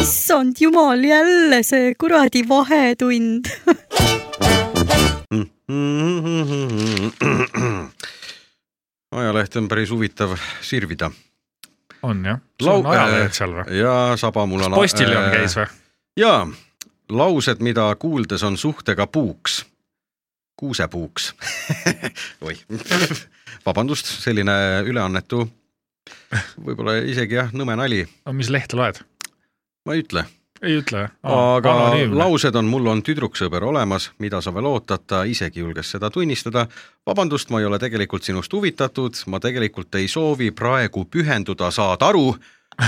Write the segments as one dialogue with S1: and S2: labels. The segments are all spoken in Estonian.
S1: issand jumal , jälle see kuradi vahetund .
S2: ajalehte Mm-hmm. on päris huvitav sirvida
S3: on jah ? sul on
S2: Lau- Äh,
S3: ajalehed seal või ?
S2: ja saba mul on .
S3: Postiljon käis või ?
S2: jaa , laused , mida kuuldes on suhtega puuks , kuusepuuks . oih , vabandust , selline üleannetu , võib-olla isegi jah , nõme nali ,
S3: aga mis lehte loed ?
S2: ma ei ütle ,
S3: ei ütle .
S2: aga laused on mul on tüdruksõber olemas , mida sa veel ootad , ta isegi julges seda tunnistada . vabandust , ma ei ole tegelikult sinust huvitatud , ma tegelikult ei soovi praegu pühenduda , saad aru ,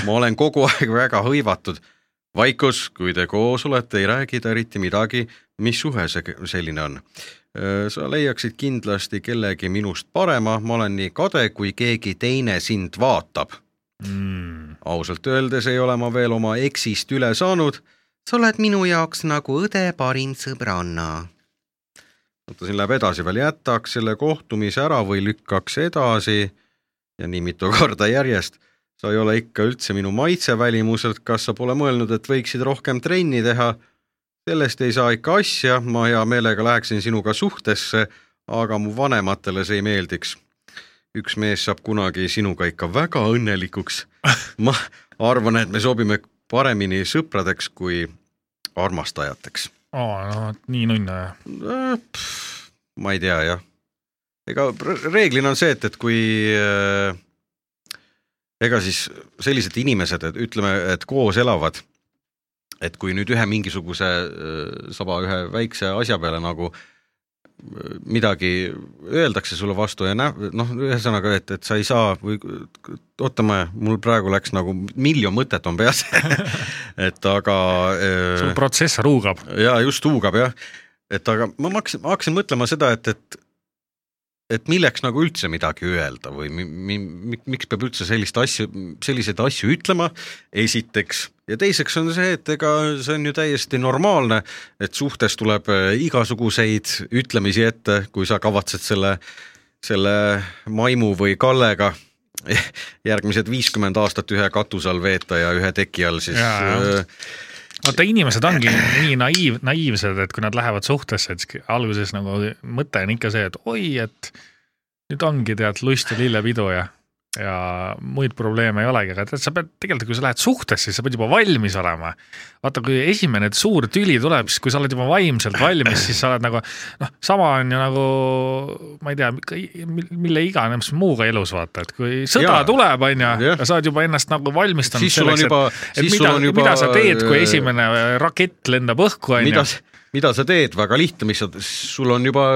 S2: ma olen kogu aeg väga hõivatud vaikus , kui te koos olete , ei räägi te eriti midagi , mis suhe see k- selline on . sa leiaksid kindlasti kellegi minust parema , ma olen nii kade , kui keegi teine sind vaatab .
S3: mm. .
S2: ausalt öeldes ei ole ma veel oma eksist üle saanud . sa oled minu jaoks nagu õde parim sõbranna . oota , siin läheb edasi veel , jätaks selle kohtumise ära või lükkaks edasi ja nii mitu korda järjest . sa ei ole ikka üldse minu maitse välimuselt , kas sa pole mõelnud , et võiksid rohkem trenni teha ? sellest ei saa ikka asja , ma hea meelega läheksin sinuga suhtesse , aga mu vanematele see ei meeldiks . üks mees saab kunagi sinuga ikka väga õnnelikuks . ma arvan , et me sobime paremini sõpradeks kui armastajateks .
S3: aa , no vot, nii nunna jah .
S2: Eh, ma ei tea jah , ega pr- reeglina on see , et , et kui äh, ega siis sellised inimesed , et ütleme , et koos elavad , et kui nüüd ühe mingisuguse äh, saba ühe väikse asja peale nagu äh, midagi öeldakse sulle vastu ja nä- , noh , ühesõnaga , et , et sa ei saa või oota , ma , mul praegu läks nagu miljon mõtet on peas , et aga äh,
S3: sul protsessor huugab .
S2: ja just huugab jah , et aga ma hakkasin , ma hakkasin mõtlema seda , et , et et milleks nagu üldse midagi öelda või mi, mi, mi, miks peab üldse sellist asju , selliseid asju ütlema , esiteks , ja teiseks on see , et ega see on ju täiesti normaalne , et suhtes tuleb äh, igasuguseid ütlemisi ette , kui sa kavatsed selle , selle maimu või kallega järgmised viiskümmend aastat ühe katuse all veeta ja ühe teki all siis
S3: Jaa, jah.
S2: äh,
S3: vaata , inimesed ongi nii naiiv , naiivsed , et kui nad lähevad suhtesse , et siis alguses nagu mõte on ikka see , et oi , et nüüd ongi tead lust ja lillepidu ja , ja muid probleeme ei olegi , aga tead , sa pead tegelikult , kui sa lähed suhtesse , siis sa pead juba valmis olema . vaata , kui esimene suur tüli tuleb , siis kui sa oled juba vaimselt valmis , siis sa oled nagu noh , sama on ju nagu ma ei tea , mille iganes muuga elus vaata , et kui sõda
S2: Jaa.
S3: tuleb , on ju
S2: Jah. ,
S3: ja sa oled juba ennast nagu valmistanud
S2: siis sul on
S3: selleks, et-
S2: juba ,
S3: et
S2: siis
S3: mida
S2: sul , on juba .
S3: mida sa teed , kui ? esimene rakett lendab õhku ,
S2: mida
S3: onju ?,
S2: mida sa teed , väga lihtne , mis sa , sul on juba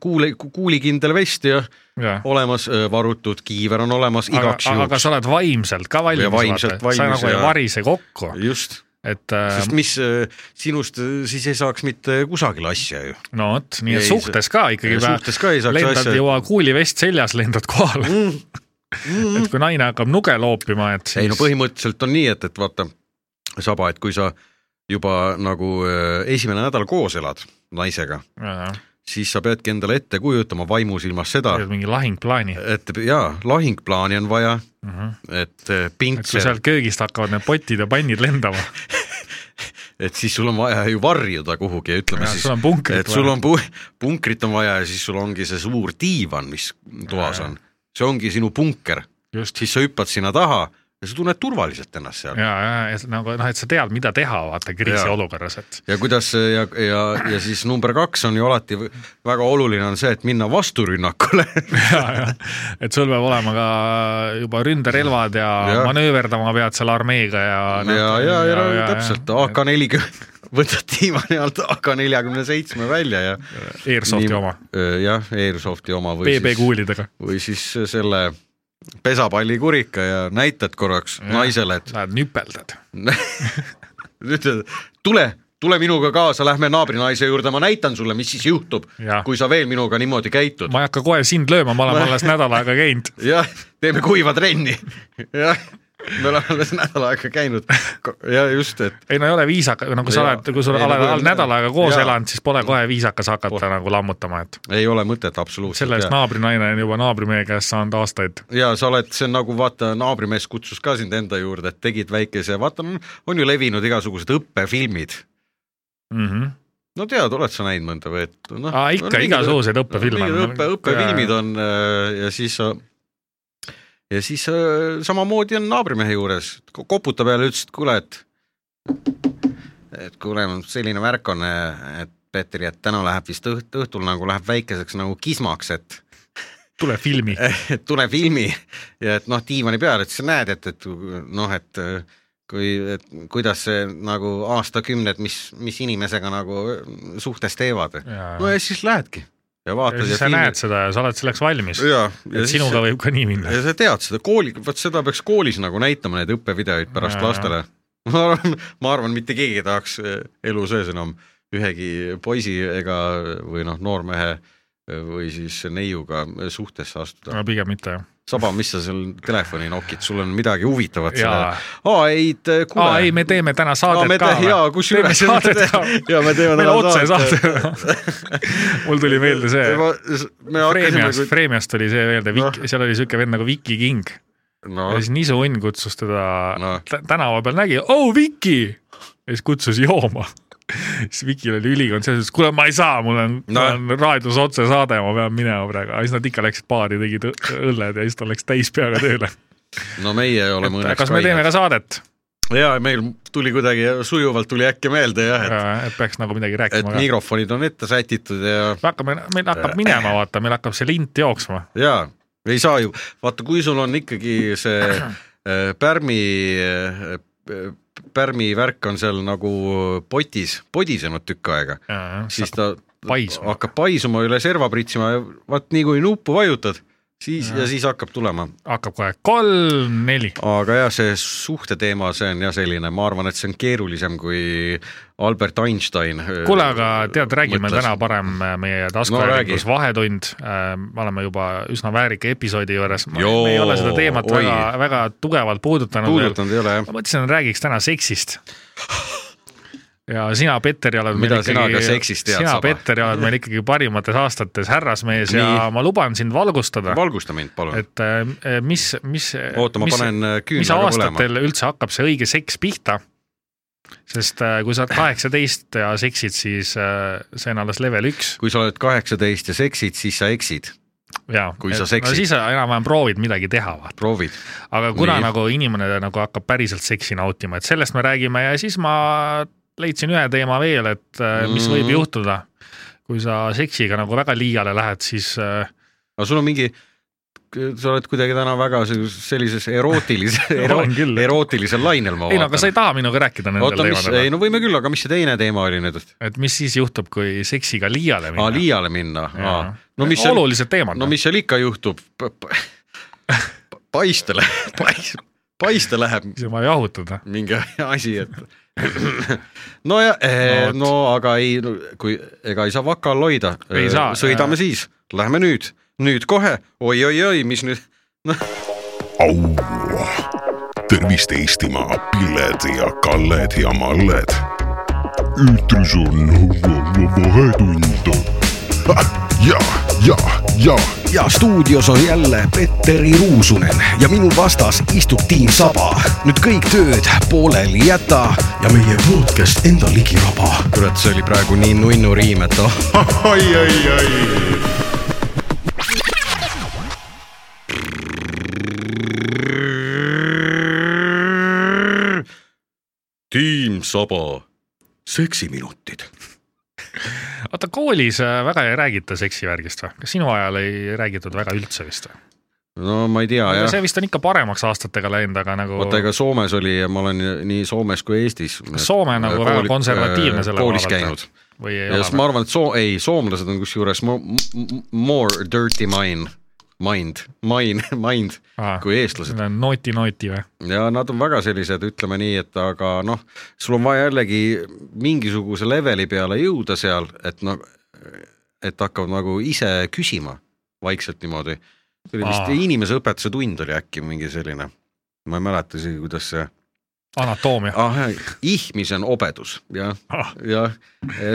S2: kuule , kuulikindel vest ja olemas , varutud kiiver on olemas
S3: aga ,
S2: igaks
S3: aga
S2: juhuks
S3: sa . oled vaimselt ka valmis ,
S2: Ja vaimselt
S3: vaata , sa
S2: valmis
S3: nagu ei
S2: ja-
S3: varise kokku ,
S2: just ,
S3: et äh,
S2: sest mis äh, sinust äh, siis ei saaks mitte kusagile asja ju .
S3: no vot , nii et
S2: ei,
S3: suhtes ka ikkagi peab ,
S2: suhtes ka ei saaks
S3: lendad
S2: asja .
S3: juba kuulivest seljas , lendad kohale , et kui naine hakkab nuge loopima , et
S2: Mm-hmm. ei no
S3: siis
S2: põhimõtteliselt on nii , et , et vaata , Saba , et kui sa juba nagu äh, esimene nädal koos elad naisega ,
S3: Jaa,
S2: siis sa peadki endale ette kujutama vaimus ilmas seda ,
S3: teed mingi lahingplaani ,
S2: et jaa , lahingplaani on vaja ,
S3: et
S2: et äh,
S3: kui
S2: pintsel
S3: sealt köögist hakkavad need potid ja pannid lendama ,
S2: et siis sul on vaja ju varjuda kuhugi , ütleme ja, siis ,
S3: sul on punkrid
S2: et sul on pu- , punkrit on vaja ja siis sul ongi see suur diivan , mis toas
S3: Ja.
S2: on . see ongi sinu punker ,
S3: just ,
S2: siis sa hüppad sinna taha ja sa tunned turvaliselt ennast seal ja,
S3: ja , ja , et nagu noh , et sa tead , mida teha , vaata kriisiolukorras , et
S2: ja kuidas see ja , ja , ja siis number kaks on ju alati v- väga oluline on see , et minna vasturünnakule
S3: ja , ja , et sul peab olema ka juba ründerelvad ja, ja.
S2: Jah.
S3: manööverdama pead seal armeega ja .
S2: ja , ja , ja, ja, ja täpselt AK nelikümmend , võtad diivani alt AK neljakümne seitsme välja ja
S3: Airsofti
S2: Nii- Äh,
S3: oma ,
S2: jah , Airsofti oma või
S3: BB
S2: siis
S3: kuulidega .
S2: või siis äh, selle pesapallikurika ja näitad korraks ja. naisele , et
S3: Lähed nüpeldad .
S2: ütled , tule , tule minuga kaasa , lähme naabrinaise juurde , ma näitan sulle , mis siis juhtub ,
S3: jah ,
S2: kui sa veel minuga niimoodi käitud .
S3: ma ei hakka kohe sind lööma , ma olen
S2: Ma-
S3: alles nädal aega käinud .
S2: jah , teeme kuiva trenni . jah , me oleme alles nädal aega käinud ja just , et
S3: ei no ei ole viisakas , nagu sa
S2: Jaa.
S3: oled , kui sa
S2: Ei,
S3: oled
S2: nagu
S3: nagu
S2: ei-
S3: nädal aega koos
S2: jaa.
S3: elanud , siis pole kohe viisakas hakata
S2: Oh.
S3: oh. nagu lammutama , et
S2: ei ole mõtet absoluutselt .
S3: selle eest naabrinaine on juba naabrimehe käest saanud aastaid .
S2: ja sa oled , see on nagu vaata , naabrimees kutsus ka sind enda juurde , et tegid väikese , vaata mm, on ju levinud igasugused õppefilmid .
S3: Mm -hmm.
S2: no tead , oled sa näinud mõnda või , et noh
S3: Aa, ikka, igasuguseid õppefilme on.
S2: õppe , õppefilmid on äh, ja siis sa ja siis äh, samamoodi on naabrimehe juures , koputa peale , ütles , et kuule , et et kuule , selline värk on , et Peeter , et täna läheb vist õht- , õhtul nagu läheb väikeseks nagu kismaks , et
S3: tule filmi .
S2: et tule filmi ja et noh , diivani peal , et sa näed , et , et noh , et kui , et kuidas see nagu aastakümned , mis , mis inimesega nagu suhtes teevad . no
S3: ja
S2: ja siis lähedki ja vaatad
S3: siis sa näed seda ja sa oled selleks valmis .
S2: ja , ja
S3: et
S2: siis
S3: sinuga võib ka nii minna .
S2: ja sa tead seda kooli , vot seda peaks koolis nagu näitama , neid õppevideoid pärast
S3: Jaa,
S2: ja, lastele . ma arvan , ma arvan , mitte keegi ei tahaks äh, elu sees enam ühegi poisi ega või noh , noormehe äh, või siis neiuga suhtesse astuda .
S3: no pigem mitte jah .
S2: saba , mis sa seal telefoni nokid , sul on midagi huvitavat seal
S3: jaa ,.
S2: aa ei , kuule .
S3: aa ei , me teeme täna saadet ka või ?
S2: jaa , kusjuures .
S3: teeme saadet ka .
S2: ja me teeme
S3: meil otse . saade . mul tuli meelde see .
S2: me hakkasime Noh.
S3: Freemiast , kui... , Freemiast oli see meelde Vik... , seal oli siuke vend nagu Viki King
S2: no
S3: ja siis Nisu Õnn kutsus teda no.
S2: No.
S3: tänava peal , nägi , oh Viki ja siis kutsus jooma . siis Vikil oli ülikond selles , ütles kuule , ma ei saa , mul on no.
S2: No. ,
S3: mul on raadios otsesaade , ma pean minema praegu , aga siis nad ikka läksid baari , tegid õ- õlled ja siis ta läks täis peaga tööle .
S2: no meie oleme õnneks
S3: kas me teeme ka saadet ,
S2: ka jaa , meil tuli kuidagi sujuvalt tuli äkki meelde jah , et ,
S3: et peaks nagu midagi
S2: et
S3: rääkima ka ?
S2: mikrofonid on ette sätitud ja ,
S3: me hakkame , meil
S2: Äh.
S3: hakkab minema , vaata , meil hakkab see lint jooksma .
S2: ja ei saa ju , vaata , kui sul on ikkagi see äh, pärmi , pärmi värk on seal nagu potis , podisenud tükk aega , siis ta
S3: Ah, paisuma.
S2: hakkab paisuma üle serva pritsima ja vaat nii kui nuppu vajutad , siis ja.
S3: Jaa.
S2: ja siis hakkab tulema .
S3: hakkab kohe kolm-neli .
S2: aga jah , see suhteteema , see on jah selline , ma arvan , et see on keerulisem kui Albert Einstein . äh,
S3: kuule , aga tead , räägime Mõtles. täna . parem äh, meie taskuhäälingus no, vahetund . me oleme juba üsna väärika episoodi juures . me
S2: Joo,
S3: ei ole seda teemat
S2: oi.
S3: väga , väga tugevalt puudutanud veel .
S2: puudutanud ei ole jah ?
S3: ma mõtlesin , et räägiks täna seksist . ja sina , Peeter , oled
S2: Mida
S3: meil
S2: sina ka
S3: ikkagi ,
S2: seksist tead,
S3: sina ,
S2: Saba?
S3: Peeter , oled meil ikkagi parimates aastates härrasmees Nii. ja
S2: Nii.
S3: ma luban sind valgustada ,
S2: valgusta mind palun .
S3: et äh, mis , mis .
S2: oota , ma
S3: mis,
S2: panen äh,
S3: mis
S2: küünlaga põlema .
S3: aastatel üldse hakkab see õige seks pihta ? sest äh, kui sa oled kaheksateist ja seksid , siis äh, see on alles level üks
S2: kui sa oled kaheksateist ja seksid , siis sa eksid ,
S3: ja .
S2: Kui sa
S3: no
S2: seksid.
S3: siis sa enam-vähem proovid midagi teha , vaata .
S2: proovid .
S3: aga kuna Nii.
S2: Nii.
S3: nagu inimene nagu hakkab päriselt seksi nautima , et sellest me räägime ja siis ma leidsin ühe teema veel , et äh, mis
S2: Mm.
S3: võib juhtuda . kui sa seksiga nagu väga liiale lähed , siis äh,
S2: aga sul on mingi , sa oled kuidagi täna väga sellises- sellises erootilises ero,
S3: olen , küll .
S2: erootilisel lainel , ma
S3: ei no aga sa
S2: vaatan
S3: ei . taha minuga rääkida nendel
S2: oota , mis , ei
S3: teemadel .
S2: no võime küll , aga mis see teine teema oli nüüd ?
S3: et mis siis juhtub , kui seksiga liiale
S2: aa ,
S3: minna ?
S2: liiale minna , aa . no mis seal ,
S3: olulised teemad .
S2: no mis seal ikka juhtub ? paista läheb , paista läheb
S3: siis on vaja jahutada .
S2: mingi asi , et no ja eh, ,
S3: No vot.
S2: no aga ei , kui ega ei saa vaka all hoida Eh,
S3: Ei saa, .
S2: sõidame siis , lähme nüüd , nüüd kohe oi, , oi-oi-oi , mis nüüd ,
S4: au . tervist , Eestimaa , Pilled ja Kalled ja Malled . eetris on Vahetund . ja , ja , ja ,
S5: ja stuudios on jälle Petteri Ruusunen ja minu vastas istub Tiim Saba . nüüd kõik tööd pooleli jäta ja meie podcast enda ligiraba .
S2: kurat , see oli praegu nii nunnu riim , et oh
S4: ai , ai , ai .
S2: tiim Saba , seksiminutid .
S3: oota , koolis äh, väga ei räägita seksivärgist või ? kas sinu ajal ei räägitud väga üldse vist või ?
S2: no ma ei tea Ah, jah
S3: see vist on ikka paremaks aastatega läinud , aga nagu
S2: vaata , ega Soomes oli ja ma olen nii Soomes kui Eestis .
S3: Soome on nagu väga konservatiivne selle
S2: äh, koolis
S3: koha pealt,
S2: käinud
S3: või ei
S2: ja siis ma
S3: ole ?
S2: arvan , et soo- , ei , soomlased on kusjuures mo- m- more dirty mind , mind , mind , mind kui eestlased
S3: Need on noti-noti või ?
S2: ja nad on väga sellised , ütleme nii , et aga noh , sul on vaja jällegi mingisuguse leveli peale jõuda seal , et noh , et hakkavad nagu ise küsima vaikselt niimoodi . see oli vist
S3: Aa.
S2: inimeseõpetuse tund oli äkki mingi selline , ma ei mäleta isegi , kuidas see
S3: anatoomia
S2: ah, , ihmisen obedus , jah ,
S3: ah. .
S2: jah ,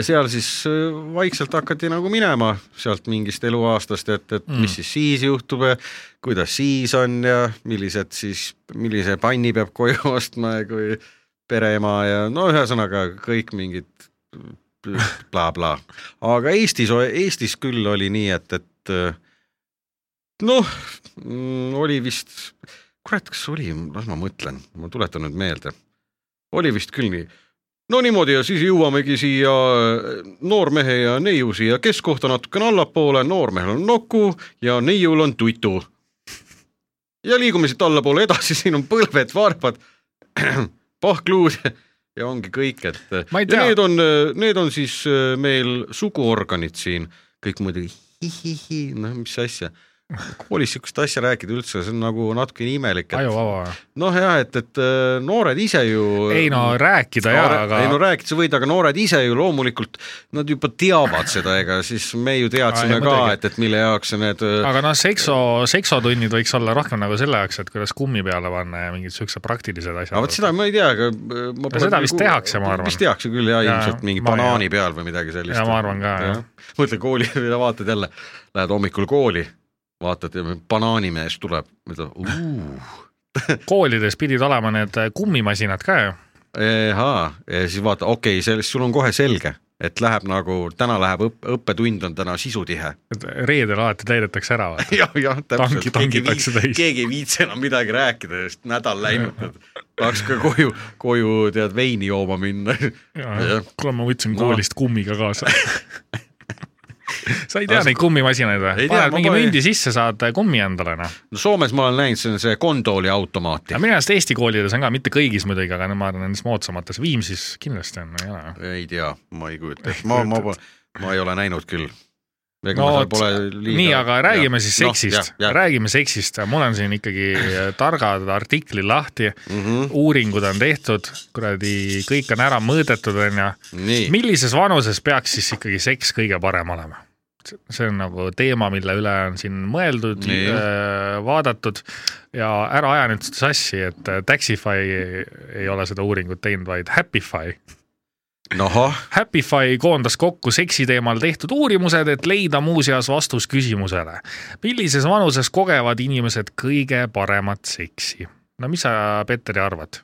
S2: seal siis äh, vaikselt hakati nagu minema sealt mingist eluaastast , et , et mm.
S3: Mm.
S2: mis siis siis juhtub ja kuidas siis on ja millised siis , millise panni peab koju ostma ja kui pereema ja no ühesõnaga kõik mingid blablabla , aga Eestis , Eestis küll oli nii , et , et äh, noh , oli vist , kurat , kas oli , las ma mõtlen , ma tuletan nüüd meelde , oli vist küll nii no niimoodi ja siis jõuamegi siia äh, noormehe ja neiu siia keskkohta natukene allapoole , noormehel on noku ja neiul on tutu . ja liigume siit allapoole edasi , siin on põlved , varbad , pahkluud ja ongi kõik , et äh,
S3: Ma ei
S2: ja
S3: tea.
S2: need on , need on siis äh, meil suguorganid siin , kõik muidugi hi-hi-hi , noh mis asja . koolis sihukest asja rääkida üldse , see on nagu natukene imelik , et
S3: ajuvaba või ?
S2: noh ja et , et äh, noored ise ju
S3: ei no rääkida jaa ,
S2: Noore-
S3: aga
S2: ei no rääkida sa võid , aga noored ise ju loomulikult , nad juba teavad seda , ega siis me ju teadsime
S3: Aa, ei,
S2: ka ,
S3: muidugi.
S2: et , et mille jaoks need äh, aga...
S3: aga noh , sekso , seksotunnid võiks olla rohkem nagu selle jaoks , et kuidas kummi peale panna ja mingid siuksed praktilised asjad .
S2: aga Ah, vot seda ma ei tea , aga äh, ma nagu-
S3: Ja seda vist tehakse, ma arvan.
S2: vist tehakse küll ja, ja
S3: Jaa,
S2: ilmselt mingi
S3: ma ei-
S2: banaani peal või midagi sellist .
S3: Jaa, ma arvan ka, jah. .
S2: mõtle kooli , vaatad jälle , lähed hommikul kooli , vaatad ja banaanimees tuleb , ütleb uh,
S3: koolides pidid olema need äh, kummimasinad ka ju .
S2: ahaa ja siis vaata , okei okay, , sellest sul on kohe selge , et läheb nagu täna läheb õpp- , õppetund on täna sisutihe .
S3: reedel alati täidetakse ära vaata .
S2: jah , jah , täpselt
S3: Tangi- . tangitakse täis.
S2: keegi ei viitsi enam midagi rääkida , sest nädal läinud , et tahaks ka koju , koju tead veini jooma minna . Jah.
S3: kuule , ma võtsin
S2: No.
S3: koolist kummiga kaasa . sa ei tea neid kummimasinaid
S2: Ei
S3: või ?
S2: tea,
S3: paned
S2: ma
S3: mingi
S2: panin-
S3: mündi sisse , saad kummi endale noh .
S2: no Soomes ma olen näinud , see on see kondooli automaati
S3: aga . minu arust Eesti koolides on ka , mitte kõigis muidugi , aga no ma arvan nendes moodsamates , Viimsis kindlasti on , ei ole .
S2: ei tea , ma ei kujuta ette , ma , ma , ma ei ole näinud küll . ega
S3: No
S2: ma seal
S3: vot,
S2: pole liiga . Noh,
S3: nii , aga räägime siis seksist , räägime seksist , mul on siin ikkagi äh, targad artiklid lahti ,
S2: Mhm.
S3: uuringud on tehtud , kuradi , kõik on ära mõõdetud , onju
S2: nii ,
S3: millises vanuses peaks siis ikkagi seks kõige parem olema ? see on nagu teema , mille üle on siin mõeldud äh,
S2: Nii. ,
S3: vaadatud ja ära aja nüüd seda sassi , et äh, Taxify ei ole seda uuringut teinud , vaid Happify .
S2: ahah ,
S3: Happify koondas kokku seksi teemal tehtud uurimused , et leida muuseas vastus küsimusele , millises vanuses kogevad inimesed kõige paremat seksi . no mis sa , Petteri , arvad ,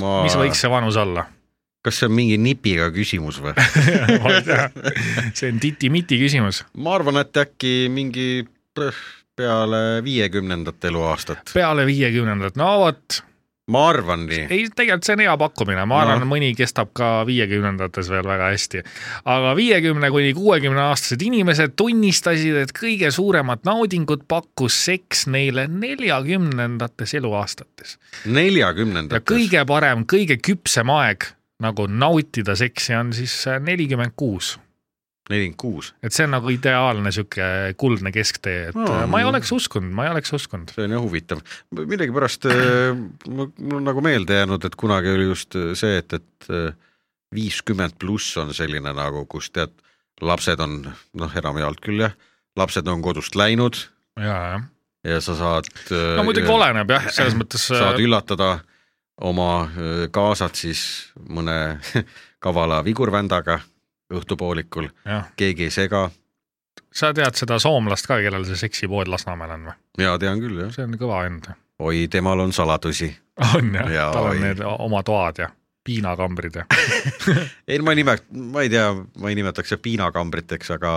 S2: ma ,
S3: mis võiks see vanus olla ?
S2: kas see on mingi nipiga küsimus või ?
S3: see on titi-miti küsimus .
S2: ma arvan , et äkki mingi peale viiekümnendat eluaastat ,
S3: peale viiekümnendat , no vot ,
S2: ma arvan nii .
S3: ei tegelikult see on hea pakkumine , ma arvan
S2: No.
S3: no. , mõni kestab ka viiekümnendates veel väga hästi . aga viiekümne kuni kuuekümne aastased inimesed tunnistasid , et kõige suuremat naudingut pakkus seks neile neljakümnendates eluaastates ja
S2: neljakümnendates .
S3: kõige parem , kõige küpsem aeg nagu nautida seksi on siis nelikümmend kuus
S2: nelikümmend kuus ,
S3: et see on nagu ideaalne sihuke kuldne kesktee , et
S2: No.
S3: no, ma ei oleks uskunud , ma ei oleks uskunud .
S2: see on jah huvitav . millegipärast äh, mul mul on nagu meelde jäänud , et kunagi oli just äh, see , et , et viiskümmend pluss on selline nagu , kus tead , lapsed on noh , enamjaolt küll jah , lapsed on kodust läinud
S3: ja , jah .
S2: ja sa saad . äh,
S3: no muidugi oleneb jah , selles mõttes . äh,
S2: saad üllatada oma äh, kaasad siis mõne kavala vigurvändaga õhtupoolikul ,
S3: jah ,
S2: keegi ei sega ,
S3: sa tead seda soomlast ka , kellel see seksipood Lasnamäel on või ?
S2: mina tean küll jah ,
S3: see on kõva vend .
S2: oi , temal on saladusi
S3: on jah
S2: Jaa,
S3: ja, , tal
S2: oi.
S3: on need oma toad ja piinakambrid ja .
S2: ei , ma ei nime , ma ei tea , ma ei nimetaks seda piinakambriteks , aga ,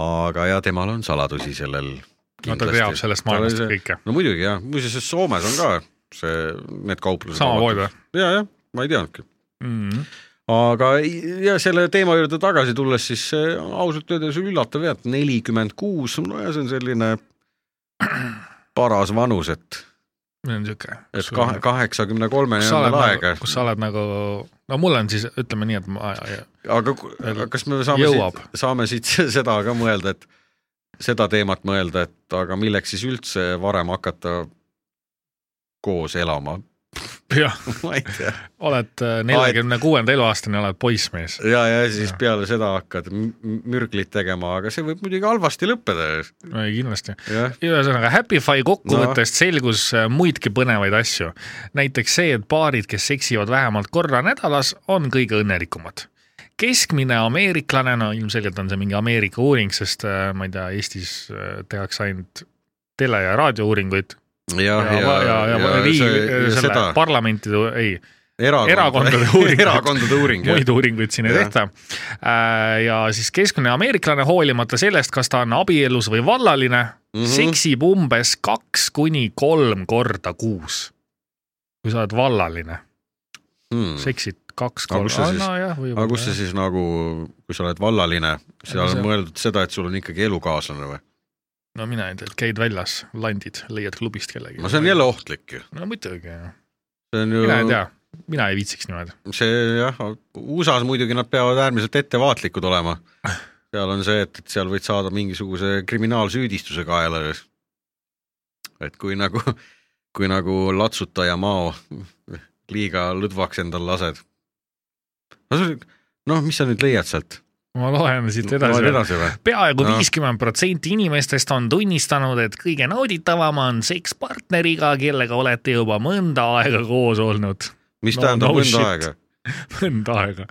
S2: aga ja temal on saladusi sellel .
S3: no ta teab sellest maailmast . kõike .
S2: no muidugi jah , muuseas see Soomes on ka see , need kauplused .
S3: sama pood Mhm. või ?
S2: ja , jah , ma ei teadnudki . aga ei- ja selle teema juurde tagasi tulles , siis see on ausalt öeldes üllatav jah , et nelikümmend kuus , nojah , see on selline paras vanus , et ,
S3: see on siuke .
S2: et kahe , kaheksakümne kolmeni
S3: kus sa
S2: on
S3: oled
S2: veel aega
S3: nagu ,. kus sa oled nagu , no mul on siis , ütleme nii , et ma ,
S2: aga ku-
S3: Veel
S2: kas me saame
S3: jõuab.
S2: siit , saame siit seda ka mõelda , et seda teemat mõelda , et aga milleks siis üldse varem hakata koos elama ?
S3: jah ,
S2: ma ei tea .
S3: oled äh, neljakümne kuuenda eluaastane , oled poissmees .
S2: ja , ja siis peale seda hakkad m- m- mürglit tegema , aga see võib muidugi halvasti lõppeda ,
S3: no ei, kindlasti .
S2: jah .
S3: ühesõnaga Happify kokkuvõttest no. selgus äh, muidki põnevaid asju . näiteks see , et paarid , kes seksivad vähemalt korra nädalas , on kõige õnnelikumad . keskmine ameeriklane , no ilmselgelt on see mingi Ameerika uuring , sest äh, ma ei tea , Eestis äh, tehakse ainult tele- ja raadiouuringuid ja ,
S2: jah ,
S3: Ah, ja , ja , ja, ja riigi , selle seda.
S2: seda
S3: parlamentide , ei ,
S2: erakond,
S3: erakondade uuring.
S2: erakondade uuring , jah .
S3: muid uuringuid siin ei
S2: Jah.
S3: tehta . ja siis keskmine ameeriklane , hoolimata sellest , kas ta on abielus või vallaline mm ,
S2: Mhm.
S3: -hmm. seksib umbes kaks kuni kolm korda kuus . kui sa oled vallaline , seksid kaks
S2: Mm. Aga kus sa
S3: korda ,
S2: siis-
S3: nojah , võib-olla .
S2: Hmm. aga kus see siis nagu , kui sa oled vallaline , seal
S3: Aga
S2: on
S3: see-
S2: mõeldud seda , et sul on ikkagi elukaaslane või ?
S3: no mina ei tea , käid väljas , landid , leiad klubist kellegi .
S2: no see on jälle . ohtlik ju .
S3: no muidugi ,
S2: see on
S3: mina ei
S2: ju ,
S3: tea , mina ei viitsiks niimoodi .
S2: see jah , USA-s muidugi nad peavad äärmiselt ettevaatlikud olema . seal on see , et , et seal võid saada mingisuguse kriminaalsüüdistuse kaela . et kui nagu , kui nagu latsutaja mao liiga lõdvaks endal lased . no see , noh , mis sa nüüd leiad sealt ?
S3: ma loen siit edasi .
S2: edasi Noh. või ?
S3: peaaegu
S2: Jah.
S3: viiskümmend protsenti inimestest on tunnistanud , et kõige nauditavam on seks partneriga , kellega olete juba mõnda aega koos olnud .
S2: mis
S3: No-
S2: no, tähendab
S3: no
S2: no mõnda
S3: shit.
S2: shit. aega ,
S3: mõnda aega .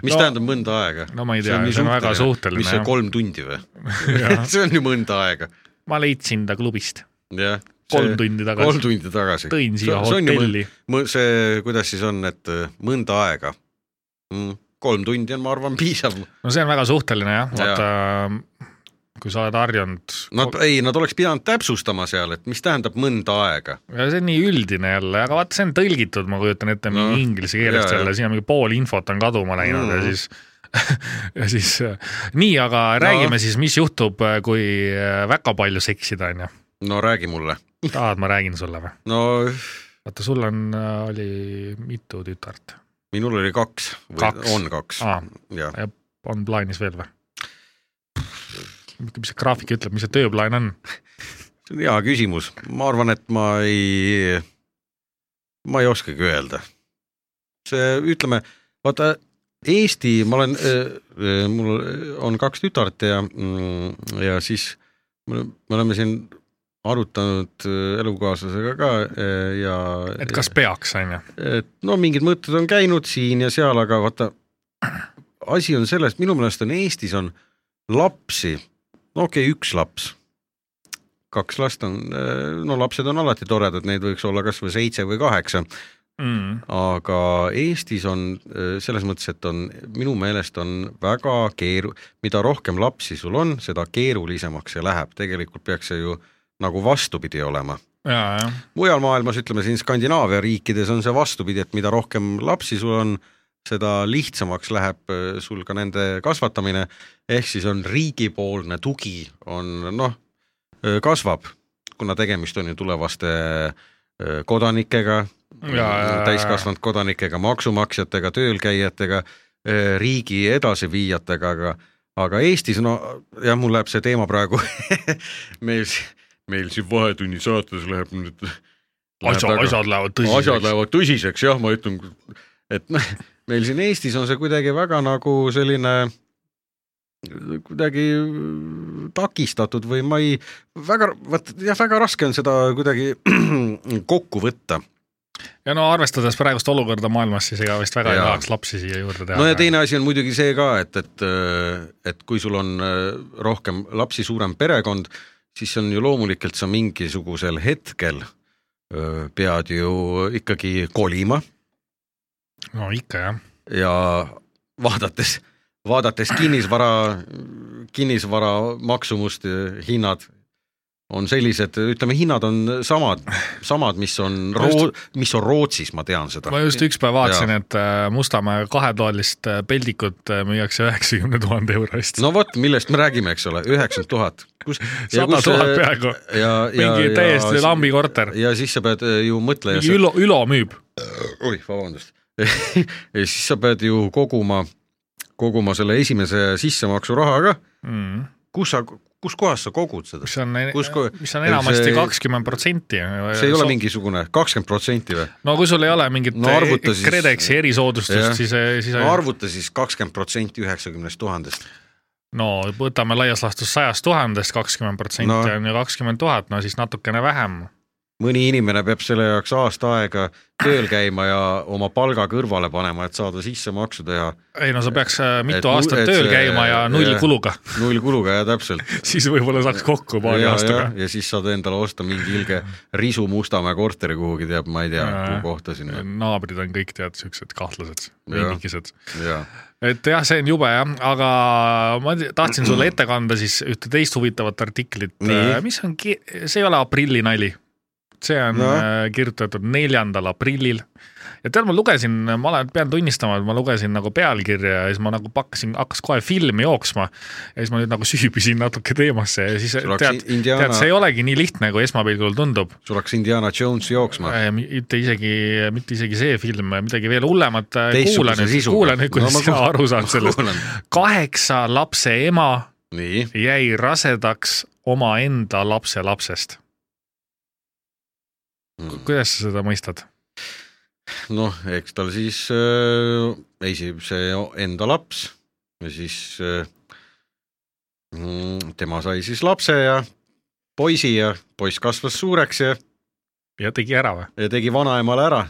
S2: mis
S3: No-
S2: no, tähendab mõnda aega ?
S3: no ma ei tea , see on väga suhteline
S2: mis see , kolm tundi või ? see on ju mõnda aega ,
S3: ma leidsin ta klubist
S2: jah .
S3: kolm tundi tagasi
S2: kolm . tundi tagasi .
S3: tõin siia
S2: See- see on ju
S3: hotelli .
S2: see , kuidas siis on , et äh, mõnda aega mm, ? kolm tundi on , ma arvan , piisav .
S3: no see on väga suhteline jah ,
S2: Jaa.
S3: vaata kui sa oled harjunud
S2: Nad , ei , nad oleks pidanud täpsustama seal , et mis tähendab mõnda aega .
S3: ja see on nii üldine jälle , aga vaata , see on tõlgitud , ma kujutan ette , mingi
S2: No,
S3: inglise keelest
S2: jaa,
S3: jälle ,
S2: jah.
S3: siin on mingi pool infot on kaduma läinud ja
S2: Mhm.
S3: siis ja siis äh, nii , aga räägime siis , mis juhtub , kui äh, väga palju seksida onju .
S2: no räägi mulle .
S3: tahad , ma räägin sulle või ?
S2: no
S3: vaata , sul on , oli mitu tütart
S2: minul oli kaks või
S3: Kaks.
S2: kaks. on kaks ,
S3: ah, ,
S2: jah .
S3: on plaanis veel või ? mis see graafik ütleb , mis see tööplaan on ?
S2: see on hea küsimus , ma arvan , et ma ei , ma ei oskagi öelda . see , ütleme , vaata Eesti , ma olen , mul on kaks tütart ja , ja siis me me oleme siin arutanud äh, elukaaslasega ka äh, ja
S3: et kas peaks onju ?
S2: et no mingid mõtted on käinud siin ja seal , aga vaata asi on selles , minu meelest on Eestis on lapsi , no okei okay, , üks laps , kaks last on , no lapsed on alati toredad , neid võiks olla kas või seitse või kaheksa ,
S3: Mm.
S2: aga Eestis on öö, selles mõttes , et on minu meelest on väga keeru- , mida rohkem lapsi sul on , seda keerulisemaks see läheb , tegelikult peaks see ju nagu vastupidi olema .
S3: ja , jah .
S2: mujal maailmas , ütleme siin Skandinaavia riikides on see vastupidi , et mida rohkem lapsi sul on , seda lihtsamaks läheb äh, sul ka nende kasvatamine , ehk siis on riigipoolne tugi on noh , kasvab , kuna tegemist on ju tulevaste äh, kodanikega ,
S3: ja , ja ,
S2: täiskasvanud kodanikega , maksumaksjatega , töölkäijatega , riigi edasiviijatega , aga aga Eestis , no jah , mul läheb see teema praegu meil , meil siin Vahetunni saates läheb nüüd
S3: asjad , asjad lähevad
S2: tõsiseks. asjad
S3: tõsiseks .
S2: lähevad tõsiseks , jah , ma ütlen , et noh , meil siin Eestis on see kuidagi väga nagu selline kuidagi takistatud või ma ei , väga , vot jah , väga raske on seda kuidagi kokku võtta .
S3: ja no arvestades praegust olukorda maailmas , siis ega vist väga ei
S2: Jaa.
S3: tahaks lapsi siia juurde teha .
S2: no ja teine asi on muidugi see ka , et , et , et kui sul on äh, rohkem lapsi , suurem perekond , siis on ju loomulikult sa mingisugusel hetkel öö, pead ju ikkagi kolima
S3: no ikka jah ,
S2: ja vaadates , vaadates kinnisvara , kinnisvara maksumust , hinnad on sellised , ütleme , hinnad on samad , samad , mis on Roo- , mis on Rootsis , ma tean seda .
S3: ma just üks päev vaatasin , et äh, Mustamäe kahetoalist äh, peldikut äh, müüakse üheksakümne tuhande euro eest no, .
S2: no vot , millest me räägime , eks ole , üheksakümmend tuhat .
S3: sada tuhat peaaegu ,
S2: ja , ja ,
S3: mingi täiesti
S2: ja ,
S3: lambi korter ,
S2: ja siis sa pead äh, ju mõtlema .
S3: mingi Ülo , Ülo müüb .
S2: oih , vabandust . ja siis sa pead ju koguma , koguma selle esimese sissemaksuraha ka ,
S3: Mm.
S2: kus sa , kus kohas sa kogud seda ?
S3: mis on
S2: Kus ko- ,
S3: mis on enamasti
S2: see-
S3: kakskümmend protsenti .
S2: see ei ole mingisugune kakskümmend protsenti või ?
S3: no kui sul ei ole mingit
S2: No
S3: no,
S2: arvuta siis-
S3: KredExi
S2: Jah.
S3: erisoodustust , siis , siis
S2: no arvuta siis kakskümmend protsenti üheksakümnest tuhandest .
S3: no võtame laias laastus sajast tuhandest kakskümmend protsenti
S2: No.
S3: on ju kakskümmend tuhat , no siis natukene vähem .
S2: mõni inimene peab selle jaoks aasta aega tööl käima ja oma palga kõrvale panema , et saada sissemaksu teha
S3: ei no sa peaks äh, mitu
S2: Et
S3: et,
S2: mu-
S3: aastat
S2: et
S3: tööl
S2: see-
S3: käima ja null
S2: jah.
S3: kuluga ,
S2: nullkuluga ja täpselt .
S3: siis võib-olla saaks kokku paari
S2: ja , ja
S3: aastaga .,
S2: ja siis saad endale osta mingi ilge risu Mustamäe korteri kuhugi teab , ma ei tea ,
S3: Jaa.
S2: kuhu kohta sinna
S3: naabrid on kõik tead siuksed kahtlased ,
S2: Jah.
S3: mingikesed .
S2: ja
S3: et jah , see on jube jah , aga ma te- tahtsin sulle ette kanda siis ühte teist huvitavat artiklit Äh,
S2: Nii. ,
S3: mis on , see ei ole aprilli nali . see on
S2: No.
S3: no. kirjutatud neljandal aprillil ja tead , ma lugesin , ma olen , pean tunnistama , et ma lugesin nagu pealkirja ja siis ma nagu pakkasin , hakkas kohe film jooksma ja siis ma nüüd nagu süübisin natuke teemasse ja siis
S2: sul hakkas
S3: tead , tead ,
S2: Indiana
S3: see , ei olegi nii lihtne , kui esmapilgul tundub .
S2: sul hakkas Indiana Jones jooksma .
S3: mitte isegi , mitte isegi see film , midagi veel hullemat . äh, kuula
S2: Teistsuguse
S3: nüüd ,
S2: sisuga.
S3: kuula nüüd , kuidas
S2: No ma
S3: no, sina
S2: kuulan.
S3: aru saad sellest . kaheksa lapse ema
S2: nii ,
S3: jäi rasedaks omaenda lapselapsest .
S2: Hmm.
S3: kuidas sa seda mõistad ?
S2: noh , eks tal siis äh, esib see enda laps ja siis äh, mm, tema sai siis lapse ja poisi ja poiss kasvas suureks ja,
S3: ja tegi ära või ?
S2: ja tegi vanaemale ära ,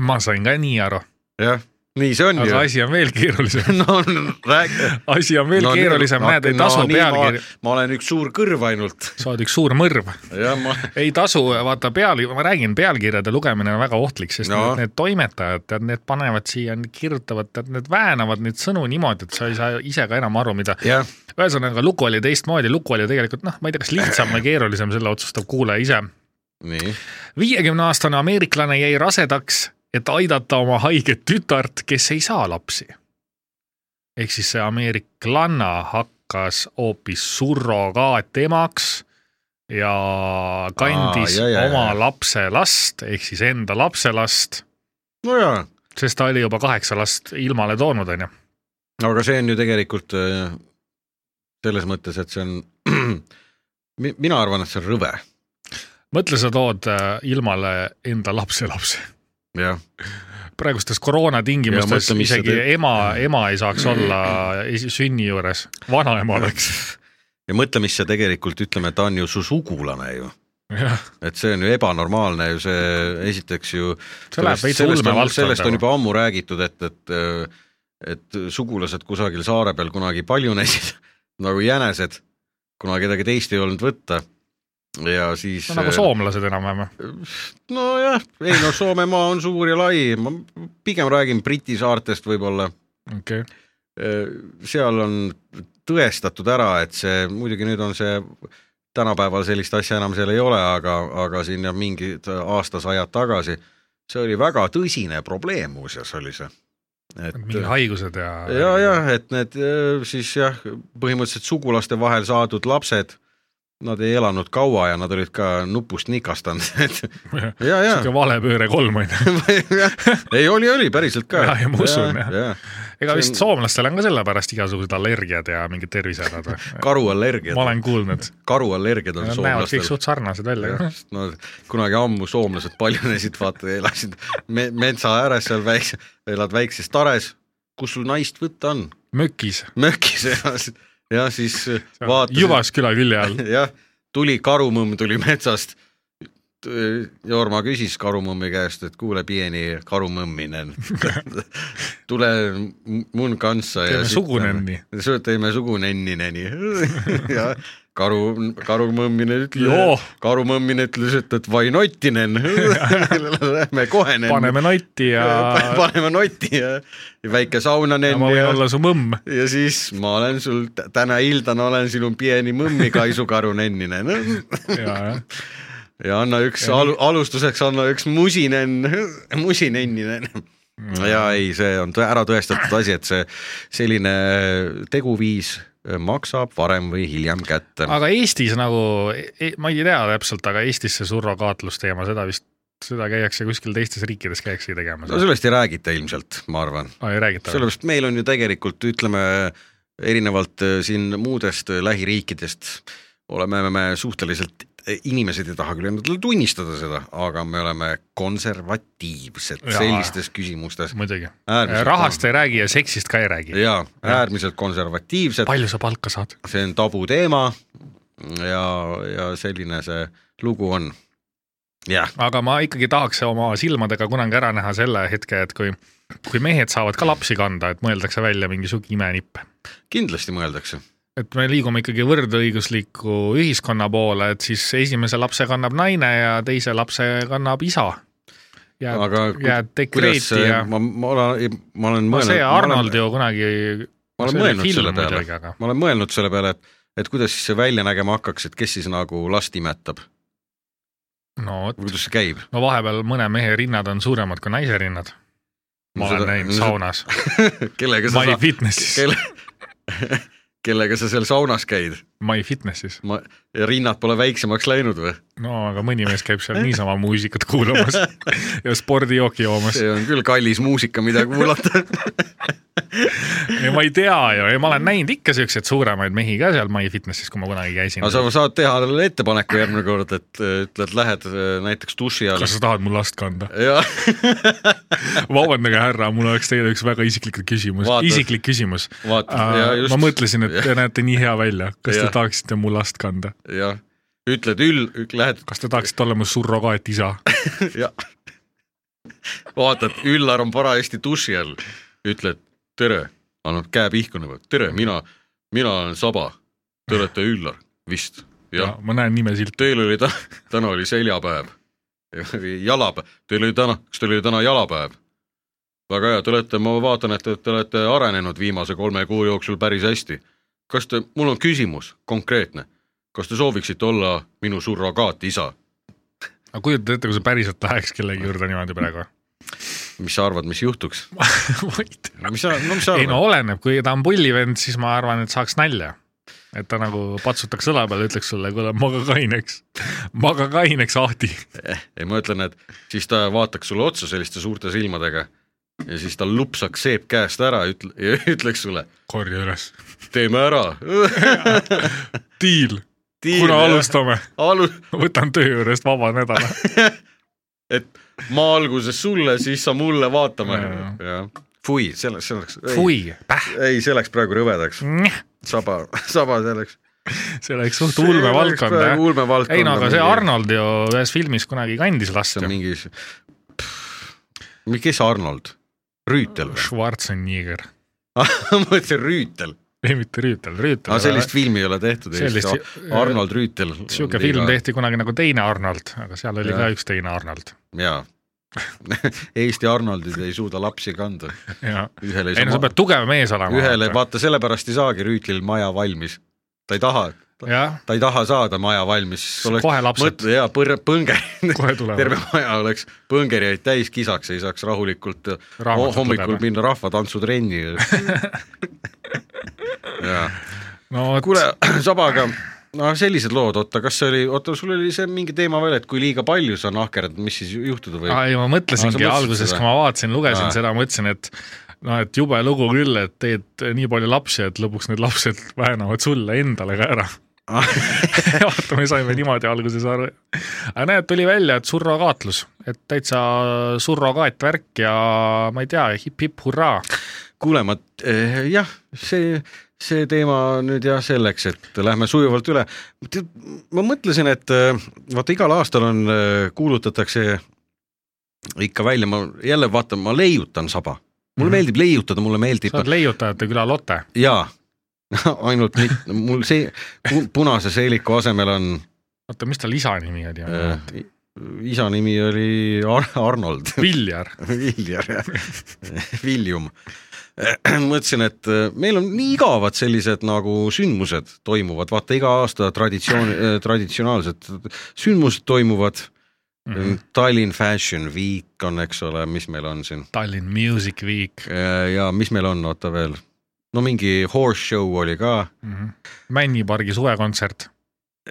S3: ma sain ka nii aru ,
S2: jah , nii see on
S3: aga
S2: ju .
S3: asi on veel keerulisem ,
S2: no räägi
S3: asi on veel
S2: No
S3: no,
S2: nii,
S3: keerulisem
S2: no,
S3: no, , näed , ei
S2: no
S3: tasu no,
S2: nii
S3: pealkiri ,
S2: ma olen üks suur kõrv ainult
S3: sa oled üks suur mõrv .
S2: ja ma
S3: ei tasu , vaata peal , ma räägin , pealkirjade lugemine on väga ohtlik , sest
S2: No.
S3: no. need, need toimetajad , tead , need panevad siia , kirjutavad , tead , need väänavad neid sõnu niimoodi , et sa ei saa ise ka enam aru , mida
S2: jah ,
S3: ühesõnaga lugu oli teistmoodi , lugu oli tegelikult noh , ma ei tea , kas lihtsam või keerulisem , selle otsustab kuulaja ise .
S2: nii
S3: viiekümne aastane ameeriklane jäi rasedaks , et aidata oma haiget tütart , kes ei saa lapsi . ehk siis see ameeriklanna hakkas hoopis surrogaatemaks ja kandis
S2: Aa,
S3: Aa,
S2: jaa,
S3: jah,
S2: jaa,
S3: jah, oma
S2: jaa.
S3: lapselast ehk siis enda lapselast ,
S2: no jaa ,
S3: sest ta oli juba kaheksa last ilmale toonud , onju .
S2: aga see on ju tegelikult äh, selles mõttes , et see on mi- mina arvan , et see on rõve ,
S3: mõtle , sa tood äh, ilmale enda lapselapse .
S2: jah ,
S3: praegustes koroona
S2: Ja
S3: tingimustes
S2: mõtle, mis see
S3: isegi
S2: teeb.
S3: ema , ema ei saaks olla esi- sünni juures , vanaema oleks .
S2: ja mõtle , mis see tegelikult , ütleme , ta on ju su sugulane ju , et see on ju ebanormaalne ju see , esiteks ju
S3: see läheb veits
S2: sellest, on, sellest
S3: ulmevaldkonda
S2: on
S3: juba... .
S2: juba ammu räägitud , et , et äh, et sugulased kusagil saare peal kunagi paljunesid nagu jänesed , kuna kedagi teist ei olnud võtta ja siis
S3: No, nagu
S2: äh,
S3: soomlased enam-vähem .
S2: nojah , ei no Soomemaa on suur ja lai , ma pigem räägin Briti saartest võib-olla ,
S3: okei okay. ,
S2: Äh, seal on tõestatud ära , et see muidugi nüüd on see tänapäeval sellist asja enam seal ei ole , aga , aga siin jah , mingid aastasajad tagasi , see oli väga tõsine probleem muuseas oli see . et
S3: mingid haigused ja .
S2: ja , ja et need äh, siis jah , põhimõtteliselt sugulaste vahel saadud lapsed , nad ei elanud kaua ja nad olid ka nupust nikastanud , et ja , ja
S3: sihuke valepööre kolm on ju .
S2: ei , oli , oli päriselt ka .
S3: Jaa, ja ma usun, jah.
S2: jah .
S3: ega
S2: See
S3: vist
S2: on-
S3: soomlastel on ka sellepärast igasugused allergiad ja mingid tervisehädad või ?
S2: karuallergiad
S3: ma , olen kuulnud ,
S2: karuallergiad on
S3: nad näevad kõik
S2: soomlastel .
S3: suht sarnased välja .
S2: no kunagi ammu soomlased paljunesid , vaata , elasid me metsa ääres seal väikse , elad väikses tares , kus sul naist võtta on ,
S3: mökis ,
S2: mökis elas ja siis vaatasid ,
S3: Jyvaskyla külje all .
S2: jah , tuli karumõmm tuli metsast . Jorma küsis karumõmmi käest , et kuule , pieni karumõmminen , tule mun kanssa ja
S3: teeme
S2: sit-
S3: sugunenni .
S2: see teeme sugunennineni ja karu , karumõmmine
S3: Joo.
S2: ütles , karumõmmine ütles , et , et vai nottinen , lähme kohe nenni ,
S3: paneme notti ja,
S2: paneme notti ja ja väike sauna
S3: ja ma
S2: nenni
S3: võin
S2: ja,
S3: olla su mõmm .
S2: ja siis ma olen sul , täna iltana olen sinu pieni mõmmi Kaisu karu nenninen
S3: ja , jah .
S2: ja anna üks
S3: Ja nii-
S2: alu, , alustuseks anna üks musinen , musinenninen . ja ei , see on tõ- ära tõestatud asi , et see selline teguviis eh, maksab varem või hiljem kätte .
S3: aga Eestis nagu , ma ei tea täpselt , aga Eestis see surrogaatlusteema , seda vist , seda käiakse kuskil teistes riikides käiakse tegemas
S2: no . sellest ei räägita ilmselt , ma arvan ,
S3: aa , ei räägita ?
S2: sellepärast meil on ju tegelikult ütleme erinevalt äh, siin muudest äh, lähiriikidest oleme me suhteliselt , inimesed ei taha küll endale tunnistada seda , aga me oleme konservatiivsed
S3: Jaa.
S2: sellistes küsimustes .
S3: muidugi . rahast ei räägi ja seksist ka ei räägi .
S2: jaa , äärmiselt konservatiivsed ,
S3: palju sa palka saad ?
S2: see on tabuteema ja , ja selline see lugu on . jah ,
S3: aga ma ikkagi tahaks oma silmadega kunagi ära näha selle hetke , et kui , kui mehed saavad ka lapsi kanda , et mõeldakse välja mingisuguseid imenippe .
S2: kindlasti mõeldakse .
S3: et me liigume ikkagi võrdõigusliku ühiskonna poole , et siis esimese lapse kannab naine ja teise lapse kannab isa . jääb ,
S2: aga ku-
S3: jääb
S2: kuidas
S3: dekreeti ja
S2: ma , ma olen , ma olen
S3: no see Arnold
S2: mõelnud ,
S3: ju kunagi ,
S2: ma olen
S3: see oli
S2: mõelnud
S3: film
S2: selle peale ,
S3: muidugi , aga
S2: ma olen mõelnud selle peale , et , et kuidas siis see välja nägema hakkaks , et kes siis nagu last imetab
S3: no
S2: või
S3: vot ,
S2: kuidas see käib ?
S3: no vahepeal mõne mehe rinnad on suuremad kui naise rinnad . ma olen näinud . saunas ,
S2: kellega sa
S3: My
S2: sa-
S3: Fitnessis ,
S2: kelle , kellega sa seal saunas käid ?
S3: My Fitnessis .
S2: ma , rinnad pole väiksemaks läinud või ?
S3: no aga mõni mees käib seal niisama muusikat kuulamas ja spordijooki joomas .
S2: see on küll kallis muusika , mida kuulata .
S3: ja ma ei tea ju , ja ma olen näinud ikka siukseid suuremaid mehi ka seal My Fitnessis , kui ma kunagi käisin
S2: aga . sa saad teha talle ettepaneku järgmine kord , et äh, ütled , lähed äh, näiteks duši alla
S3: kas . sa tahad mul last kanda ?
S2: ja
S3: vabandage , härra , mul oleks teile üks väga isiklik küsimus
S2: Vaata. ,
S3: isiklik küsimus .
S2: vaata , ja just ,
S3: ma mõtlesin , et te näete nii hea välja , kas
S2: Jah.
S3: te tahaksite mu last kanda ?
S2: jah , ütled ül- , lähed ,
S3: kas te tahaksite olla mu surrogaatisa ?
S2: jah . vaatad , Üllar on parajasti duši all , ütled tere , annab käe pihku nagu , tere , mina , mina olen Saba . Te olete Üllar , vist , jah .
S3: ma näen nimesilt .
S2: Teil oli ta- , täna oli seljapäev . jalapäev , teil oli täna , kas teil oli täna jalapäev ? väga hea , te olete , ma vaatan , et te- te olete arenenud viimase kolme kuu jooksul päris hästi . kas te , mul on küsimus , konkreetne . kas te sooviksite olla minu surrogaatisa ?
S3: aga kujuta ette , kui sa päriselt läheks kellegi juurde niimoodi praegu .
S2: mis sa arvad , mis juhtuks ?
S3: ma ei tea .
S2: mis sa , no mis sa
S3: ei
S2: arvad
S3: no ? oleneb , kui ta on pullivend , siis ma arvan , et saaks nalja . et ta nagu patsutaks õla peale , ütleks sulle , kuule maga kaineks , maga kaineks ahti .
S2: ei ma ütlen , et siis ta vaataks sulle otsa selliste suurte silmadega ja siis ta lupsaks seep käest ära ja ütle- ja ütleks sulle ,
S3: korja üles .
S2: teeme ära .
S3: diil , kuna ? alustame ,
S2: alu- ,
S3: võtan töö juurest vaba nädala .
S2: et ma alguses sulle , siis sa mulle vaatame
S3: Jaa. .
S2: fui , selle , see oleks ,
S3: fui , päh ,
S2: ei , see läks praegu rõvedaks , saba , saba see läks .
S3: see läks suht ulmevaldkonda jah .
S2: ulmevaldkonda .
S3: ei no aga see . Arnold ju ühes filmis kunagi kandis last
S2: see
S3: ju
S2: on . mingi , kes Arnold ? Rüütel või ?
S3: Schwarzenegger ,
S2: ma mõtlesin Rüütel ,
S3: ei mitte Rüütel ,
S2: aga
S3: Rüütel .
S2: sellist filmi ei ole tehtud
S3: Sellist-
S2: Eestis , Arnold Rüütel .
S3: sihuke film . tehti kunagi nagu Teine Arnold , aga seal oli
S2: Jah.
S3: ka üks teine Arnold .
S2: jaa . Eesti Arnoldid ei suuda lapsi kanda ,
S3: ja ,
S2: ühele ei
S3: ei no sa
S2: saa ,
S3: pead tugev mees olema .
S2: ühele , vaata sellepärast ei saagi Rüütlil maja valmis . ta ei taha ,
S3: jah ,
S2: ta ei taha saada maja valmis , oleks
S3: kohe lapsed ,
S2: mõtle ja põr- , põnge ,
S3: kohe tulevad
S2: terve . maja oleks põngerjaid täis kisaks , ei saaks rahulikult ho-
S3: Raamatut
S2: hommikul
S3: lugema.
S2: minna rahvatantsutrenni . jaa ,
S3: no
S2: kuule
S3: kuule ,
S2: Sabaga , no sellised lood , oota , kas see oli , oota , sul oli see mingi teema veel , et kui liiga palju sa nahkerdad , mis siis juhtuda võib ?
S3: ei ma
S2: Aa,
S3: mõtlesingi
S2: sa mõtlesid
S3: alguses ,
S2: seda?
S3: kui ma vaatasin , lugesin
S2: Aa.
S3: seda , mõtlesin , et noh , et jube lugu küll , et teed nii palju lapsi , et lõpuks need lapsed väänavad sulle endale ka ära .
S2: Ah,
S3: vaata , me saime niimoodi alguses aru . aga näed , tuli välja , et surrogaatlus , et täitsa surrogaatvärk ja ma ei tea , hip-hip-hurraa .
S2: kuule , ma eh, jah , see , see teema nüüd jah , selleks , et lähme sujuvalt üle . ma mõtlesin , et eh, vaata igal aastal on , kuulutatakse ikka välja , ma jälle vaatan , ma leiutan saba . mulle mm
S3: Mhm.
S2: -hmm. meeldib leiutada , mulle meeldib
S3: sa oled leiutajate küla Lotte .
S2: jaa , ainult mit- mul see pu- punase seeliku asemel on
S3: oota , mis tal isa nimi oli ?
S2: eh, i- isa nimi oli Ar Arnold
S3: Viljar .
S2: Äh. Viljar , Viljum . mõtlesin , et äh, meil on nii igavad sellised nagu sündmused toimuvad , vaata iga aasta traditsioon , traditsionaalsed sündmused toimuvad mm .
S3: Mhm.
S2: -hmm. Tallinn Fashion Week on , eks ole , mis meil on siin Äh,
S3: Tallinn Music Week
S2: ja mis meil on , oota veel , no mingi horse show oli ka ,
S3: mm . -hmm. Männipargi suvekontsert ,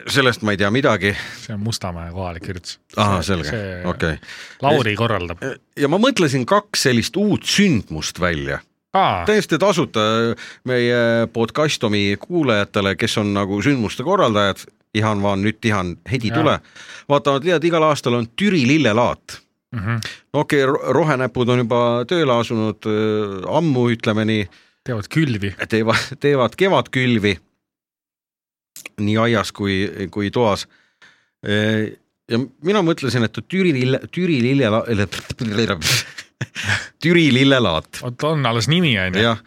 S2: sellest ma ei tea midagi .
S3: see on Mustamäe kohalik üritus .
S2: ahah , selge ,
S3: see
S2: okei okay. .
S3: Lauri korraldab .
S2: ja ma mõtlesin kaks sellist uut sündmust välja ,
S3: aa ,
S2: Ah. täiesti tasuta äh, meie podcastomi kuulajatele , kes on nagu sündmuste korraldajad , Ihan Vaan , Nyt Ihan , Hedi
S3: Jaa.
S2: Tule , vaatavad liialt , igal aastal on Türi lillelaat .
S3: Mhm.
S2: no okei okay, , rohenäpud on juba tööle asunud äh, ammu , ütleme nii ,
S3: teevad külvi .
S2: teevad , teevad kevadkülvi nii aias kui , kui toas . ja mina mõtlesin , et Türi lille , Türi lille , Türi lillelaat
S3: vot on alles nimi on ju .
S2: jah ,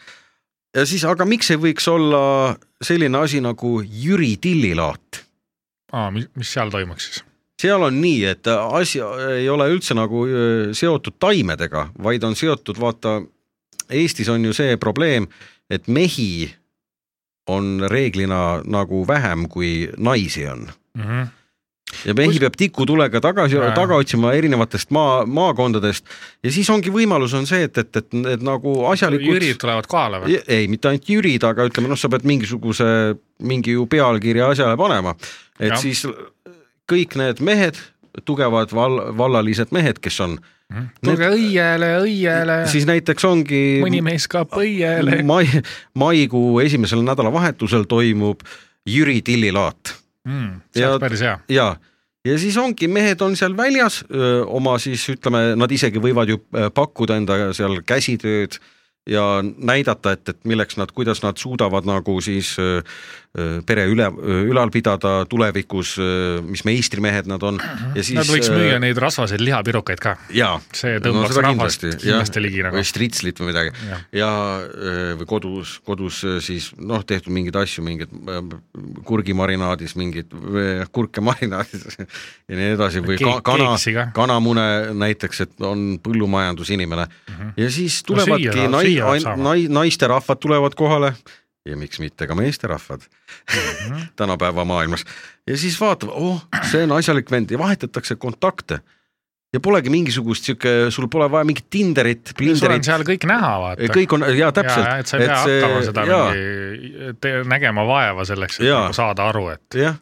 S2: ja siis , aga miks ei võiks olla selline asi nagu Jüri Tillilaat ?
S3: aa , mis , mis seal toimuks siis ?
S2: seal on nii , et asi ei ole üldse nagu öö, seotud taimedega , vaid on seotud , vaata , Eestis on ju see probleem , et mehi on reeglina nagu vähem kui naisi on
S3: Mhm.
S2: ja mehi
S3: Kus-
S2: peab tikutulega tagasi
S3: Jaa. ,
S2: taga otsima erinevatest maa , maakondadest ja siis ongi võimalus on see , et , et , et need nagu asjalikud
S3: jürid tulevad kohale või ?
S2: Ja- ei , mitte ainult jürid , aga ütleme noh , sa pead mingisuguse , mingi ju pealkirja asjale panema , et ja.
S3: Jah.
S2: siis kõik need mehed , tugevad val- , vallalised mehed , kes on ,
S3: tulge õiele , õiele ,
S2: siis näiteks ongi
S3: mõni mees ka õiele .
S2: mai , maikuu esimesel nädalavahetusel toimub Jüri Tillilaat
S3: Mhm.
S2: Mm.
S3: see
S2: Ja-
S3: oleks päris hea .
S2: ja , ja siis ongi , mehed on seal väljas öö, oma siis ütleme , nad isegi võivad ju öö, pakkuda enda seal käsitööd ja näidata , et , et milleks nad , kuidas nad suudavad nagu siis öö, öö, pere üle , ülal pidada tulevikus , mis meistrimehed nad on ja siis . äh,
S3: Mhm. Nad võiks müüa neid rasvaseid lihapirukaid ka .
S2: jaa .
S3: see tõmbaks rahvast kindlasti ligi nagu
S2: või . stritslit või midagi
S3: Jah.
S2: ja öö, või kodus , kodus öö, siis noh , tehtud mingeid asju , mingid öö, kurgimarinaadis mingid öö, kurke marinaadis ja nii edasi või ka,
S3: Keek-
S2: kana
S3: keeksi ka. ,
S2: kanamune näiteks , et on põllumajandusinimene mm -hmm. ja siis
S3: Mhm. No süüa
S2: tulevadki
S3: saab-
S2: no,
S3: süüa peab
S2: nai- ,
S3: saama.
S2: nai- , naisterahvad tulevad kohale ja miks mitte ka meesterahvad
S3: Mhm.
S2: tänapäeva maailmas ja siis vaatab , oh , see on asjalik vend ja vahetatakse kontakte ja polegi mingisugust sihuke , sul pole vaja mingit Tinderit ,
S3: sul on
S2: Blinderit ,
S3: seal kõik näha , vaata .
S2: kõik on ja täpselt ,
S3: et sa ei pea
S2: see-
S3: hakkama seda
S2: jaa.
S3: mingi te- nägema vaeva selleks , et
S2: Jaa.
S3: nagu saada aru , et
S2: jah .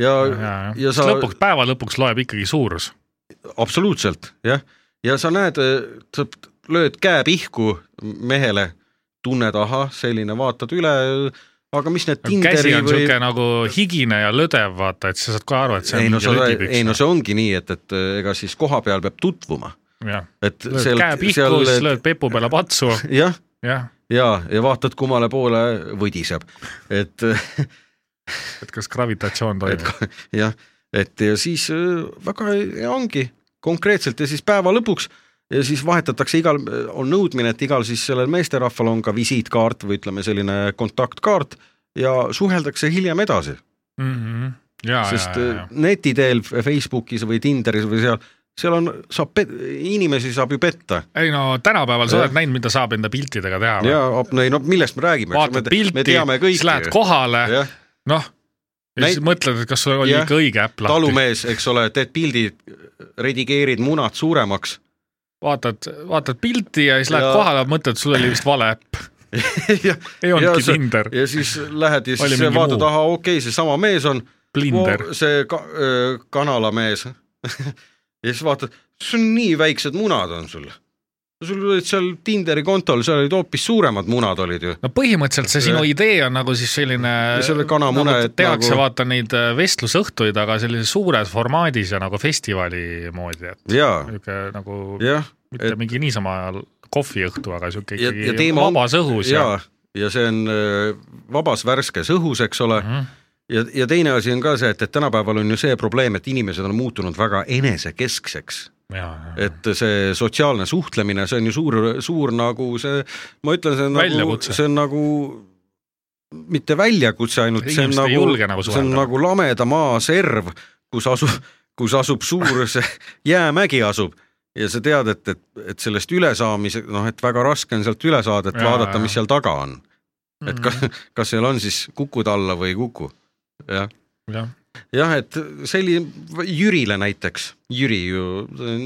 S2: ja, ja ,
S3: ja,
S2: ja
S3: ja
S2: sa-
S3: sa... lõpuks , päeva lõpuks loeb ikkagi suurus .
S2: absoluutselt jah , ja sa näed , sa lööd käe pihku mehele , tunned , ahah , selline , vaatad üle , aga mis need
S3: käsi
S2: Tinderi
S3: on
S2: või
S3: niisugune nagu higine ja lödev , vaata , et sa saad kohe aru , et see on
S2: ei no
S3: mingi
S2: sa , ei no
S3: lödipüks .
S2: see ongi nii , et , et ega siis koha peal peab tutvuma ,
S3: jah ,
S2: et
S3: lööd käe pihku , siis lööd pepu peale patsu ,
S2: jah ,
S3: jah ,
S2: ja , ja vaatad , kummale poole võdiseb , et ,
S3: et kas gravitatsioon
S2: et
S3: toimib .
S2: jah , et ja siis öö, väga hea ongi konkreetselt ja siis päeva lõpuks ja siis vahetatakse igal , on nõudmine , et igal siis sellel meesterahval on ka visiitkaart või ütleme , selline kontaktkaart ja suheldakse hiljem edasi ,
S3: Mhm. ja ,
S2: sest äh,
S3: ja ,
S2: öö,
S3: ja ,
S2: neti teel Facebookis või Tinderis või seal , seal on , saab , inimesi saab ju petta
S3: ei no tänapäeval sa
S2: Jah.
S3: oled näinud , mida saab enda piltidega teha või ?
S2: ja op- no ei no millest me räägime , me,
S3: vaatad
S2: te- me
S3: pilti ,
S2: teame
S3: siis lähed
S2: kõiki .
S3: kohale , noh , ja siis
S2: Näit-
S3: mõtled , et kas sul oli
S2: Jah.
S3: ikka õige äpp lahti .
S2: talumees , eks ole , teed pildid , redigeerid munad suuremaks .
S3: vaatad , vaatad pilti ja siis lähed
S2: Ja-
S3: kohale , mõtled , sul oli vist vale äpp ,
S2: ja
S3: ei
S2: Ja
S3: olnudki
S2: see-
S3: Tinder ,
S2: ja siis lähed ja
S3: Oli
S2: siis
S3: mingi
S2: vaatad ,
S3: muu.
S2: ahah , okei okay, , seesama mees on ,
S3: Blinder .
S2: see ka, öö, kanalamees . ja siis vaatad , sul on nii väiksed munad on sul . sul olid seal Tinderi kontol , seal olid hoopis suuremad munad olid ju .
S3: no põhimõtteliselt see sinu idee on nagu siis selline
S2: Ja selle kanamune,
S3: nagu,
S2: et
S3: tehakse
S2: nagu-
S3: nagu... vaata neid äh, vestlusõhtuid , aga sellises suures formaadis ja nagu festivali moodi , et
S2: jaa ,
S3: niisugune nagu ja,
S2: jah ,
S3: mitte
S2: et-
S3: et... mingi niisama kohviõhtu , aga niisugune
S2: Ja-
S3: ikkagi
S2: ja teema on-
S3: vabas õhus ja,
S2: jaa , ja see on öö, vabas värskes õhus , eks ole
S3: ja. .
S2: ja , ja teine asi on ka see , et , et tänapäeval on ju see probleem , et inimesed on muutunud väga enesekeskseks .
S3: Ja, ja.
S2: et see sotsiaalne suhtlemine , see on ju suur , suur nagu see , ma ütlen , see on nagu ,
S3: Väljakutse.
S2: see on nagu mitte väljakutse ainult , see on
S3: Inimesed ei
S2: nagu
S3: julge , nagu
S2: see on
S3: suhelda.
S2: nagu lameda maa serv , kus asub , kus asub suur see jäämägi asub ja sa tead , et , et , et sellest ülesaamise , noh , et väga raske on sealt üle saada , et
S3: Jaa,
S2: vaadata ,
S3: jaa.
S2: mis seal taga on . et kas ,
S3: Mhm.
S2: kas seal on siis kukud alla või ei kuku . jah ,
S3: jah ,
S2: jah , et selline , Jürile näiteks , Jüri ju ,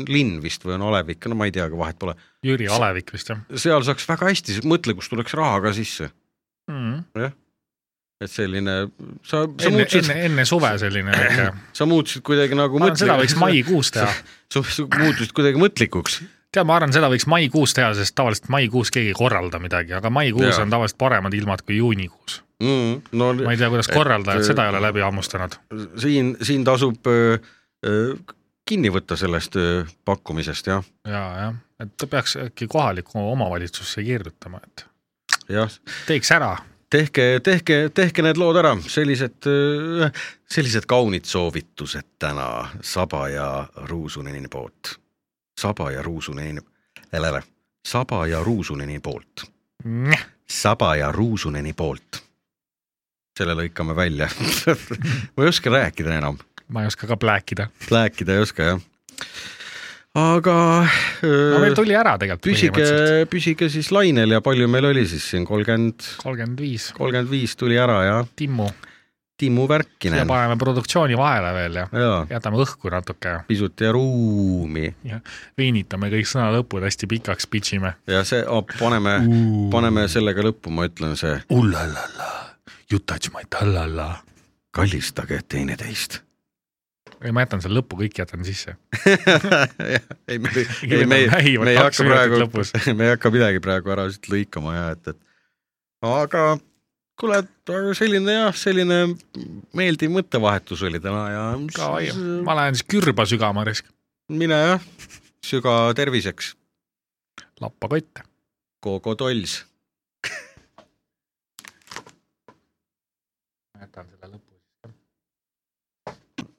S2: linn vist või on Alevik , no ma ei tea , aga vahet pole .
S3: Jüri Alevik vist jah
S2: seal saaks väga hästi , mõtle , kust tuleks raha ka sisse ,
S3: mm. .
S2: et selline , sa , sa
S3: enne ,
S2: muutsid
S3: enne ,, enne suve selline väike ,
S2: sa muutsid kuidagi nagu
S3: ma arvan , seda võiks
S2: mõtlikuks ,
S3: maikuus teha .
S2: sa sa muutusid kuidagi mõtlikuks
S3: tead , ma arvan , seda võiks maikuus teha , sest tavaliselt maikuus keegi ei korralda midagi , aga maikuus
S2: Jaa.
S3: on tavaliselt paremad ilmad kui juunikuus .
S2: mm, . no
S3: ma ei tea , kuidas
S2: Et,
S3: korraldajad
S2: äh,
S3: seda ei ole läbi hammustanud .
S2: siin , siin tasub öö, öö, kinni võtta sellest öö, pakkumisest jah ,
S3: ja , jah , et ta peaks äkki kohalikku omavalitsusse kirjutama , et
S2: jah ,
S3: teeks ära .
S2: tehke , tehke , tehke need lood ära , sellised , sellised kaunid soovitused täna Saba ja Ruusuneni poolt . saba ja Ruusuneni , Saba ja Ruusuneni poolt , Saba ja Ruusuneni poolt . selle lõikame välja , ma ei oska rääkida enam .
S3: ma ei oska ka pläkida .
S2: rääkida ei oska jah . aga öö,
S3: no meil tuli ära tegelikult
S2: püsige ,
S3: põhimõtteliselt .
S2: püsige siis lainel ja palju meil oli siis siin kolmkümmend ,
S3: kolmkümmend viis ,
S2: kolmkümmend viis tuli ära ja
S3: Timmu ,
S2: Timmu
S3: siia
S2: Värkinen
S3: paneme produktsiooni vahele veel ja
S2: ja
S3: jätame õhku natuke ja
S2: pisut ja ruumi
S3: veinitame kõik sõna lõpud hästi pikaks , pitch ime .
S2: ja see oh, , paneme , paneme sellega lõppu , ma ütlen see ,
S3: Ullalala , you touch my tallala .
S2: kallistage teineteist .
S3: ei , ma jätan selle lõpu kõik jätan sisse .
S2: ei , me , ei , me , me ei hakka praegu , me ei hakka midagi praegu ära siit lõikama ja et , et aga kuule , aga selline jah , selline meeldiv mõttevahetus oli täna ja
S3: Davai , ma lähen siis kürba sügama risk ,
S2: mine jah , süga terviseks ,
S3: lappa kotte .
S2: Gogo Tolls .
S3: jätan selle lõpu .